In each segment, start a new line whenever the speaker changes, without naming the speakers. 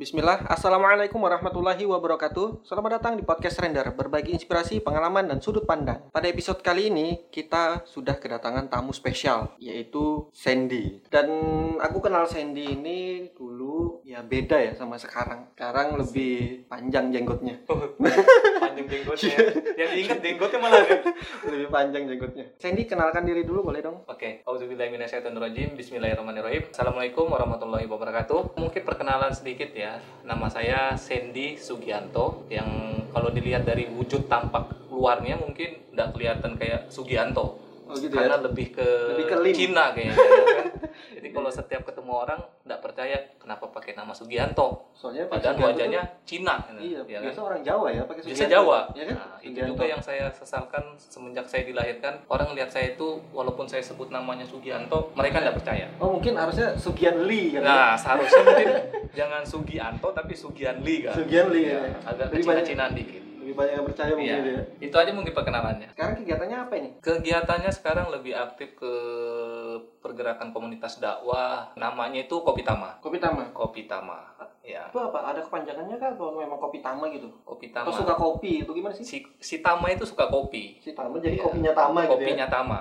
Bismillah, Assalamualaikum warahmatullahi wabarakatuh Selamat datang di Podcast Render Berbagi inspirasi, pengalaman, dan sudut pandang Pada episode kali ini, kita sudah kedatangan tamu spesial Yaitu Sandy Dan aku kenal Sandy ini dulu ya beda ya sama sekarang Sekarang lebih panjang jenggotnya
Oh. panjang jenggotnya
Iya.
yang diingat jenggotnya malah deh.
Lebih panjang jenggotnya Sandy, kenalkan diri dulu boleh dong?
Oke, auzubillahiminasyaitonirrajim. Bismillahirrahmanirrahim. Assalamualaikum warahmatullahi wabarakatuh. Mungkin perkenalan sedikit ya. Nama saya Sandy Sugianto yang kalau dilihat dari wujud tampak luarnya mungkin nggak kelihatan kayak Sugianto.
Oh gitu
karena
ya?
lebih ke,
Lebih ke Lim.
Cina kayaknya. ya kan? Jadi kalau setiap ketemu orang nggak percaya kenapa pakai nama Sugianto,
Soalnya Ya, Pak
padahal
Sugianto tuh-
wajahnya Cina.
Iya,
ya kan?
biasa orang Jawa ya pakai
Biasa
Sugianto.
Jawa.
Iya kan?
Nah, itu
Sugianto.
juga yang saya sesalkan semenjak saya dilahirkan. Orang lihat saya itu walaupun saya sebut namanya Sugianto, mereka nggak percaya.
Oh mungkin harusnya Sugian Lee kan?
Nah, seharusnya mungkin jangan Sugianto tapi Sugianli kan.
Sugian Lee ya.
Ya, agak
Lebih banyak-
kecina-cinaan dikit.
lebih banyak yang percaya mungkin
Iya.
ya.
Itu aja mungkin perkenalannya.
Sekarang kegiatannya apa ini?
Kegiatannya sekarang lebih aktif ke pergerakan komunitas dakwah. Namanya itu Kopi Tama.
Kopi Tama.
Kopi Tama. Ya,
Itu apa? Ada kepanjangannya kah atau memang kopi Tama gitu?
Kopi
Atau
Tama.
suka kopi itu gimana sih?
Si, si Tama itu suka kopi.
Si Tama jadi
Iya.
kopinya Tama gitu ya.
kopinya Tama.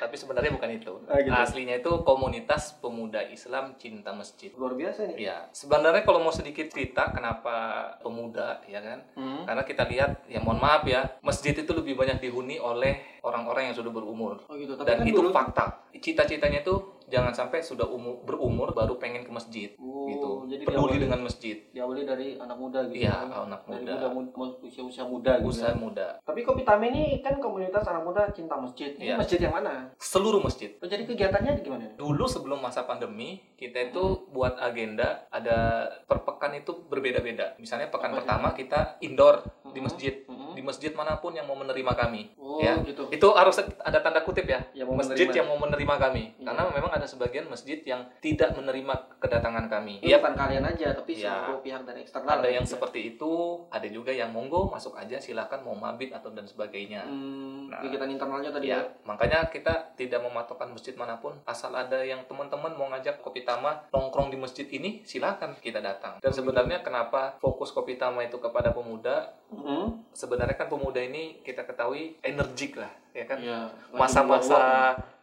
Tapi sebenarnya bukan itu.
Ah, gitu.
Aslinya itu komunitas pemuda Islam cinta masjid.
Luar biasa ini.
Ya, sebenarnya kalau mau sedikit cerita kenapa pemuda ya kan?
Hmm.
Karena kita lihat ya mohon maaf ya, masjid itu lebih banyak dihuni oleh orang-orang yang sudah berumur.
Oh gitu. Tapi
Dan
kan
itu
dulu...
fakta. Cita-citanya itu jangan sampai sudah umur, berumur baru pengen ke masjid
Oh,
gitu.
Jadi
Peduli
diawali,
dengan masjid.
diawali dari anak muda gitu.
Iya,
kan?
anak
Dari
muda.
muda, mu- usia-usia muda gitu.
Usaha
ya.
muda.
Tapi Kopi Tama ini kan komunitas anak muda cinta masjid. Ini
Iya.
masjid yang mana?
Seluruh masjid
Oh, jadi kegiatannya gimana?
Dulu sebelum masa pandemi, kita itu buat agenda ada per pekan itu berbeda-beda. Misalnya pekan
Apa itu?
pertama kita indoor di
Mhm.
masjid,
Mhm.
di masjid manapun yang mau menerima kami.
Oh
Ya.
gitu.
Itu harus ada tanda kutip ya,
Ya, mau
masjid
menerima.
yang mau menerima kami.
Iya.
Karena memang ada sebagian masjid yang tidak menerima kedatangan kami.
Itu
Iya,
bukan kalian aja, tapi
Iya.
seluruh pihak dari eksternal.
ada yang
gitu.
seperti itu, ada juga yang monggo masuk aja silahkan mau mabit atau dan sebagainya.
Hmm,
Nah.
kegiatan internalnya tadi ya.
Ya, makanya kita tidak mematokkan masjid manapun. Asal ada yang teman-teman mau ngajak kopi tama nongkrong di masjid ini, silakan kita datang. Dan sebenarnya kenapa fokus kopi tama itu kepada pemuda?
Hmm.
Sebenarnya kan pemuda ini kita ketahui energik lah, ya kan?
Iya, lagi
Masa-masa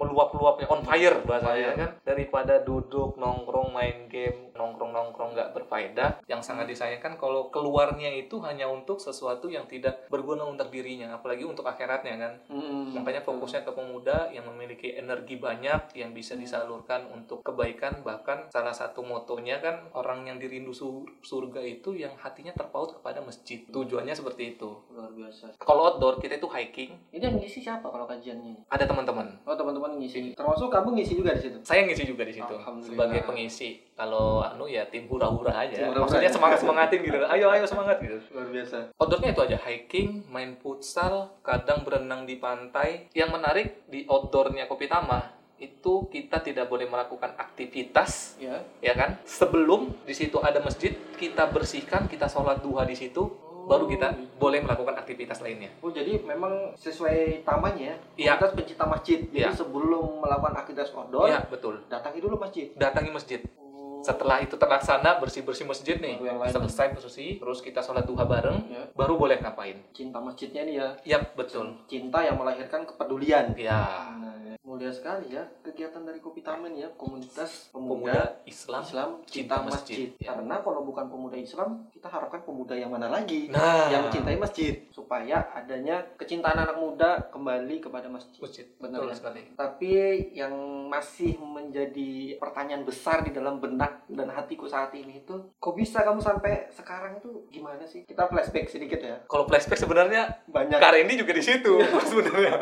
meluap-luapnya on fire
Fire.
bahasanya kan daripada duduk nongkrong main game nongkrong nongkrong nggak berfaedah yang sangat disayangkan kalau keluarnya itu hanya untuk sesuatu yang tidak berguna untuk dirinya apalagi untuk akhiratnya kan
Hmm.
Makanya fokusnya ke pemuda yang memiliki energi banyak yang bisa
Hmm.
disalurkan untuk kebaikan bahkan salah satu motonya kan orang yang dirindu su- surga itu yang hatinya terpaut kepada masjid. Tujuannya seperti itu.
luar biasa.
Kalau outdoor kita itu hiking,
Ini yang ngisi siapa kalau kajiannya? ini?
ada teman-teman.
Oh, teman-teman ngisi. Termasuk kamu ngisi juga di situ.
Saya ngisi juga di situ
Alhamdulillah.
sebagai pengisi. Kalau anu ya tim hura-hura aja.
Tim hura-hura ya.
Maksudnya
aja.
semangat-semangatin gitu. Ayo ayo semangat gitu.
Luar biasa.
Outdoornya itu aja hiking, main futsal, kadang berenang di pantai. Yang menarik di outdoornya Kopi Tama itu kita tidak boleh melakukan aktivitas,
Ya.
ya kan? Sebelum di situ ada masjid, kita bersihkan, kita sholat duha di situ, baru kita boleh melakukan aktivitas lainnya.
Oh, jadi memang sesuai tamannya ya.
Iya.
Komunitas pencinta masjid. Jadi
Iya.
sebelum melakukan aktivitas outdoor,
Iya betul.
datangi dulu masjid.
Datangi masjid.
Oh.
Setelah itu terlaksana bersih bersih masjid nih,
Baru yang lain.
selesai bersih, terus kita sholat duha bareng,
Ya.
baru boleh ngapain?
Cinta masjidnya ini ya.
Ya betul.
Cinta yang melahirkan kepedulian.
Ya
Nah, mulia sekali ya kegiatan dari Kopi Taman ya, komunitas pemuda
pemuda Islam.
Islam cinta
Cinta
masjid.
masjid. Ya.
Karena kalau bukan pemuda Islam, kita harapkan pemuda yang mana lagi
Nah,
yang mencintai masjid supaya adanya kecintaan anak muda kembali kepada masjid.
masjid
Benar
betul
ya?
sekali.
Tapi yang masih menjadi pertanyaan besar di dalam benak dan hatiku saat ini itu, kok bisa kamu sampai sekarang itu gimana sih? Kita flashback sedikit ya,
Kalau flashback sebenarnya
banyak.
Kak Randy juga di situ sebenarnya.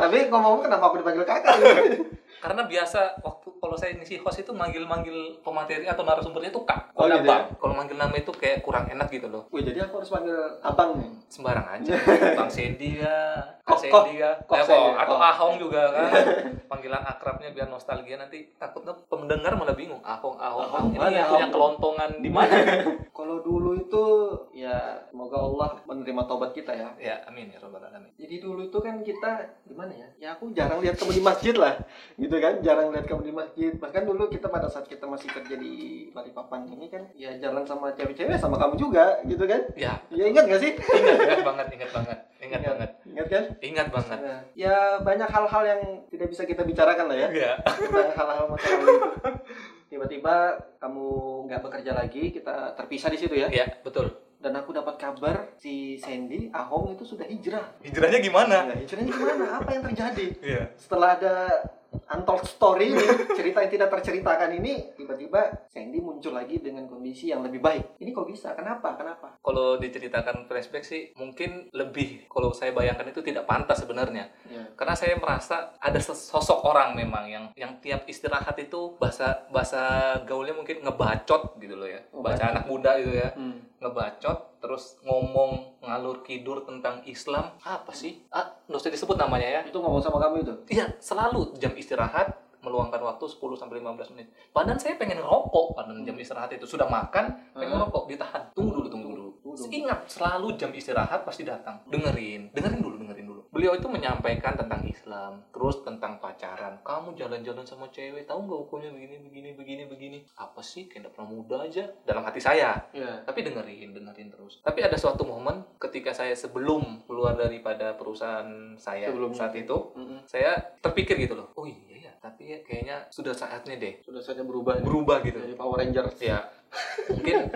Tapi ngomong kenapa aku dipanggil kakak?
Karena biasa waktu kalau saya ngisi host itu manggil-manggil pemateri atau narasumbernya itu Kak.
Oh,
Kalau
gitu
Bang. Kalau manggil nama itu kayak kurang enak gitu loh.
Wih, jadi aku harus panggil abang nih.
Sembarang aja. Bang Sandy ya,
Kok,
Kak
kok,
Sandy ya,
kok
Ya,
Sandy, Oh.
kok. atau
kok.
Ahong juga kan. Panggilan akrabnya biar nostalgia nanti takutnya pendengar malah bingung. Ahong, Ahong,
Ahong
Ahong. Ini
mana,
yang punya
Ahong?
kelontongan di mana?
Kalau dulu itu ya semoga Allah menerima taubat kita ya.
Ya, amin ya robbal alamin.
Jadi dulu itu kan kita gimana ya? Ya aku jarang lihat kamu di masjid lah, gitu kan? Jarang lihat kamu di masjid. Bahkan dulu kita pada saat kita masih kerja di Balikpapan ini kan, ya jalan sama cewek-cewek sama kamu juga, gitu kan?
Ya,
Ya ingat gak sih?
ingat, ingat banget, ingat banget, ingat
Ingat.
banget,
Ingat kan?
ingat banget.
Nah, ya banyak hal-hal yang tidak bisa kita bicarakan lah ya
Ya,
tentang hal-hal masa lalu. itu. Tiba-tiba kamu nggak bekerja lagi, kita terpisah di situ ya.
ya betul.
Dan aku dapat kabar si Sandy, Ahong itu sudah hijrah.
Hijrahnya gimana?
Nah, hijrahnya gimana? Apa yang terjadi?
Iya.
setelah ada untold story ini, cerita yang tidak terceritakan ini, tiba-tiba Sandy muncul lagi dengan kondisi yang lebih baik. Ini kok bisa? Kenapa? Kenapa?
Kalau diceritakan flashback sih mungkin lebih kalau saya bayangkan itu tidak pantas sebenarnya.
Ya.
karena saya merasa ada sosok orang memang yang yang tiap istirahat itu bahasa bahasa gaulnya mungkin ngebacot gitu loh ya
Oh,
baca
bacot.
anak muda gitu ya
Hmm.
ngebacot terus ngomong ngalur kidur tentang Islam apa sih ah nggak usah disebut namanya ya
Itu ngomong sama kamu itu?
iya selalu jam istirahat meluangkan waktu 10 sampai 15 menit. Padahal saya pengen ngerokok pada jam istirahat itu. Sudah makan, pengen
Hmm.
ngerokok, ditahan. Tunggu dulu, tunggu dulu. Ingat, selalu jam istirahat pasti datang. Dengerin, dengerin dulu, dengerin dulu. Beliau itu menyampaikan tentang Islam, terus tentang pacaran. Kamu jalan-jalan sama cewek, tahu nggak hukumnya begini, begini, begini, begini. Apa sih, kayak pernah muda aja. Dalam hati saya,
Iya.
tapi dengerin dengerin terus tapi ada suatu momen ketika saya sebelum keluar daripada perusahaan saya
Sebelumnya.
saat itu
Hmm.
saya terpikir gitu loh oh iya ya tapi ya kayaknya sudah saatnya deh
Sudah saja berubah. nih.
berubah gitu
Dari Power Rangers.
ya mungkin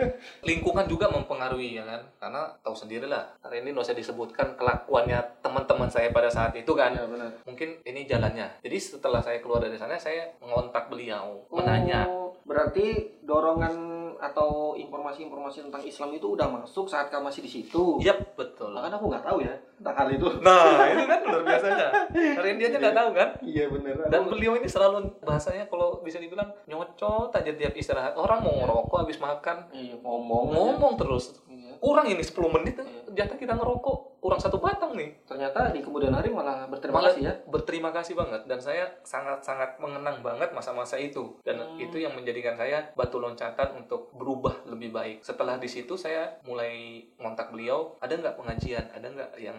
lingkungan juga mempengaruhi ya kan karena tahu sendirilah karena ini nggak usah disebutkan kelakuannya teman-teman saya pada saat itu kan
Iya, benar.
mungkin ini jalannya jadi setelah saya keluar dari sana saya mengontak beliau
Oh,
menanya
Berarti dorongan atau informasi-informasi tentang Islam itu udah masuk saat kamu masih di situ.
Yap, betul.
Bahkan aku nggak tahu ya Iya. tentang hal Oh. itu.
Nah, itu kan luar biasanya. Karena dia aja nggak tahu kan.
Iya benar.
Dan beliau ini selalu bahasanya kalau bisa dibilang nyocot aja tiap istirahat. Orang mau ngerokok habis makan,
Iya, ngomong.
ngomong terus.
Iya.
Kurang ini 10 menit, jatah kita ngerokok. Kurang satu batang nih.
Ternyata di kemudian hari malah berterima
Malah
kasih ya.
berterima kasih banget. Dan saya sangat-sangat mengenang banget masa-masa itu. Dan
Hmm.
itu yang menjadikan saya batu loncatan untuk berubah lebih baik. Setelah di situ saya mulai ngontak beliau, ada nggak pengajian? Ada nggak yang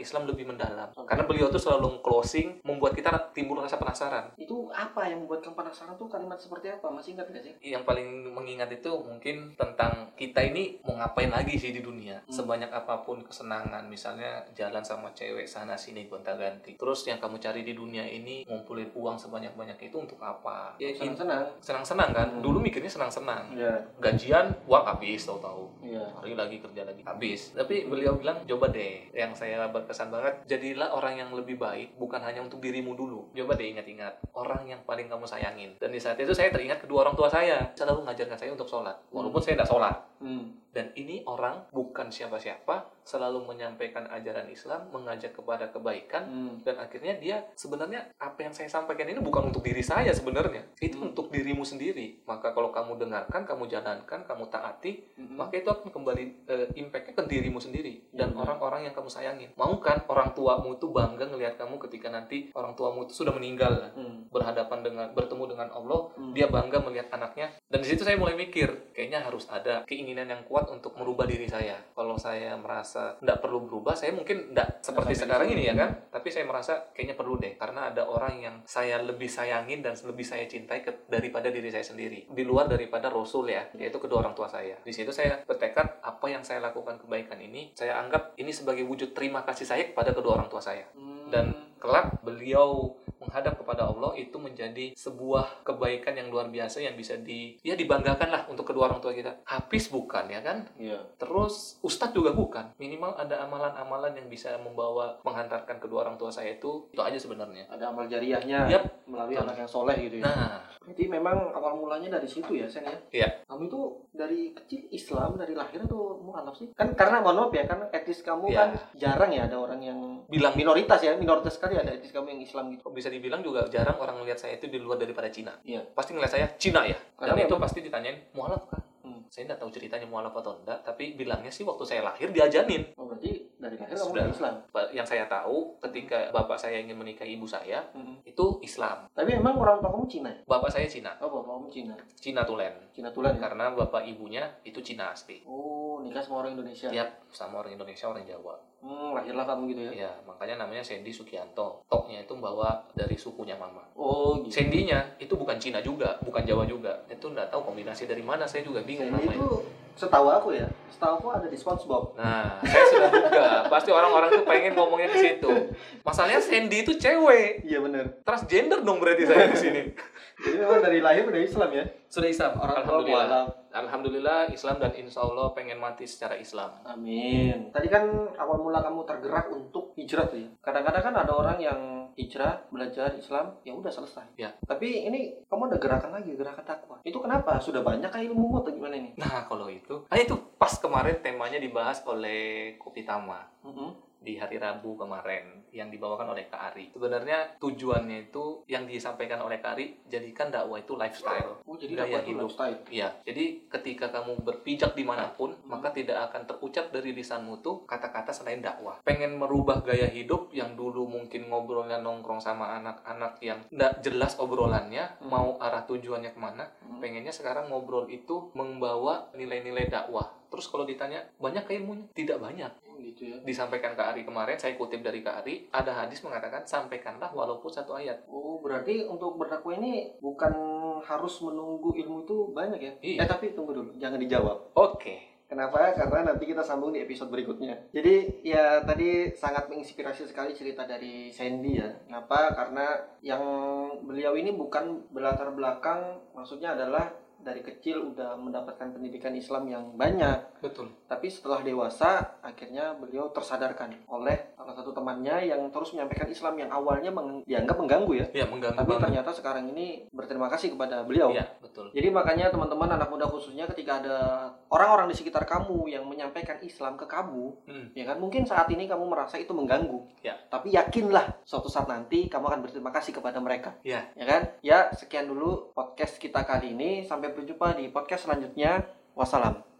Oh.
Islam lebih mendalam?
Oke.
Karena beliau tuh selalu closing, membuat kita timbul rasa penasaran.
itu apa yang membuat kamu penasaran tuh kalimat seperti apa masih ingat gak sih
yang paling mengingat itu mungkin tentang kita ini mau ngapain lagi sih di dunia sebanyak apapun kesenangan misalnya jalan sama cewek sana sini gonta ganti terus yang kamu cari di dunia ini ngumpulin uang sebanyak banyak itu untuk apa ya
senang
in-
senang
senang-senang kan
gitu. Hmm.
dulu mikirnya senang-senang
iya
gajian uang habis tahu-tahu
iya
hari lagi kerja lagi habis tapi beliau bilang coba deh yang saya berkesan banget jadilah orang yang lebih baik bukan hanya untuk dirimu dulu coba deh ingat-ingat orang yang paling kamu sayangin dan di saat itu saya teringat kedua orang tua saya selalu mengajarkan saya untuk sholat walaupun saya tidak sholat
hmm.
dan ini orang bukan siapa-siapa selalu menyampaikan ajaran Islam mengajak kepada kebaikan
Hmm.
dan akhirnya dia sebenarnya apa yang saya sampaikan ini bukan untuk diri saya sebenarnya itu
Hmm.
untuk dirimu sendiri maka kalau kamu dengarkan kamu jalankan kamu taati
Hmm.
maka itu akan kembali eh, impact-nya ke dirimu sendiri dan
Iya.
orang-orang yang kamu sayangin. Mau kan orang tuamu itu bangga ngelihat kamu ketika nanti orang tuamu itu sudah meninggal
Hmm.
berhadapan dengan bertemu dengan Allah,
Hmm.
dia bangga melihat anaknya. Dan di situ saya mulai mikir, kayaknya harus ada keinginan yang kuat untuk merubah diri saya. Kalau saya merasa tidak perlu berubah, saya mungkin tidak seperti
sampai
sekarang
di
ini
sini.
ya kan. Tapi saya merasa kayaknya perlu deh karena ada orang yang saya lebih sayangin dan lebih saya cintai ke- daripada diri saya sendiri. Di luar daripada Rasul ya, yaitu kedua orang tua saya. Di situ saya bertekad apa yang saya lakukan kebaikan ini, saya anggap ini sebagai wujud terima kasih saya kepada kedua orang tua saya
Hmm.
dan kelak beliau menghadap kepada Allah itu menjadi sebuah kebaikan yang luar biasa yang bisa di ya dibanggakan lah untuk kedua orang tua kita habis bukan ya kan
iya
terus ustadz juga bukan minimal ada amalan-amalan yang bisa membawa menghantarkan kedua orang tua saya itu itu aja sebenarnya
ada amal jariahnya
Yap.
melalui
Betul.
anak yang soleh gitu ya
nah
berarti memang awal mulanya dari situ ya Sen ya
Iya.
kamu itu dari kecil Islam dari lahir tuh mualaf sih kan karena mohon maaf ya kan etis kamu
Iya.
kan jarang ya ada orang yang
bilang
minoritas ya minoritas sekali ada etis kamu yang Islam gitu
kok bisa dibilang juga jarang orang melihat saya itu di luar daripada Cina
Iya.
pasti ngeliat saya Cina ya dan
Karena
itu
memang-
pasti ditanyain mualaf kan
Hmm.
saya nggak tahu ceritanya mualaf atau enggak tapi bilangnya sih waktu saya lahir diajanin
oh, berarti dari lahir kamu
Sudah.
udah Islam
Ba- yang saya tahu ketika bapak saya ingin menikahi ibu saya
Mm-mm.
itu
Hmm.
Islam
tapi emang orang tua kamu Cina ya
bapak saya Cina
oh bapak kamu Cina
Cina tulen
Cina tulen ya
karena bapak ibunya itu Cina asli
oh nikah sama orang Indonesia.
Tiap sama orang Indonesia, orang Jawa.
Hmm, lahirlah kamu gitu ya.
Iya, makanya namanya Sandy Sukianto. Toknya itu bawa dari sukunya mama.
Oh, gitu.
Sandy-nya itu bukan Cina juga, bukan Jawa juga. Itu nggak tahu kombinasi dari mana, saya juga bingung
Sandy
namanya.
itu setahu aku ya, setahu aku ada di SpongeBob.
Nah, saya sudah duga. Pasti orang-orang tuh pengen ngomongnya ke situ. Masalahnya Sandy itu cewek.
Iya bener.
Transgender dong berarti saya di sini.
Jadi memang dari lahir udah Islam ya.
Sudah Islam.
Orang tua
Alhamdulillah.
mualaf.
Alhamdulillah Islam dan insya Allah pengen mati secara Islam.
Amin. Tadi kan awal mula kamu tergerak untuk hijrah tuh ya. Kadang-kadang kan ada orang yang hijrah belajar Islam ya udah selesai.
Ya.
Tapi ini kamu ada gerakan lagi gerakan takwa. Itu kenapa? Sudah banyak kah ilmu atau gimana ini?
Nah kalau itu, ah itu pas kemarin temanya dibahas oleh Kopi Tama
Mm-mm.
di hari Rabu kemarin yang dibawakan oleh Kak Ari. Sebenarnya tujuannya itu yang disampaikan oleh Kak Ari, jadikan dakwah itu lifestyle.
Oh jadi
Gaya
dakwah itu
hidup.
lifestyle.
Iya, jadi ketika kamu berpijak dimanapun, maka tidak akan terucap dari lisanmu tuh kata-kata selain dakwah. Pengen merubah gaya hidup yang dulu mungkin ngobrolnya nongkrong sama anak-anak yang nggak jelas obrolannya,
Hmm.
mau arah tujuannya kemana,
Hmm.
pengennya sekarang ngobrol itu membawa nilai-nilai dakwah. Terus kalau ditanya, banyak ke ilmunya? Tidak banyak.
Oh, gitu ya.
Disampaikan Kak Ari kemarin, saya kutip dari Kak Ari, ada hadis mengatakan, sampaikanlah walaupun satu ayat.
Oh berarti untuk berdakwah ini bukan harus menunggu ilmu itu banyak ya?
Iya.
Eh tapi tunggu dulu, jangan dijawab.
Oke.
Kenapa? Karena nanti kita sambung di episode berikutnya. Jadi ya tadi sangat menginspirasi sekali cerita dari Sandy ya. Kenapa? Karena yang beliau ini bukan berlatar belakang, maksudnya adalah dari kecil udah mendapatkan pendidikan Islam yang banyak.
Betul.
Tapi setelah dewasa, akhirnya beliau tersadarkan oleh salah satu temannya yang terus menyampaikan Islam yang awalnya meng- dianggap mengganggu ya.
Ya, mengganggu
Tapi
banget.
ternyata sekarang ini berterima kasih kepada beliau.
Iya, betul.
Jadi makanya teman-teman anak muda khususnya ketika ada orang-orang di sekitar kamu yang menyampaikan Islam ke kamu,
Hmm.
ya kan mungkin saat ini kamu merasa itu mengganggu.
Ya.
Tapi yakinlah suatu saat nanti kamu akan berterima kasih kepada mereka.
Ya.
Ya kan? Ya, sekian dulu podcast kita kali ini. Sampai berjumpa di podcast selanjutnya. Wassalam.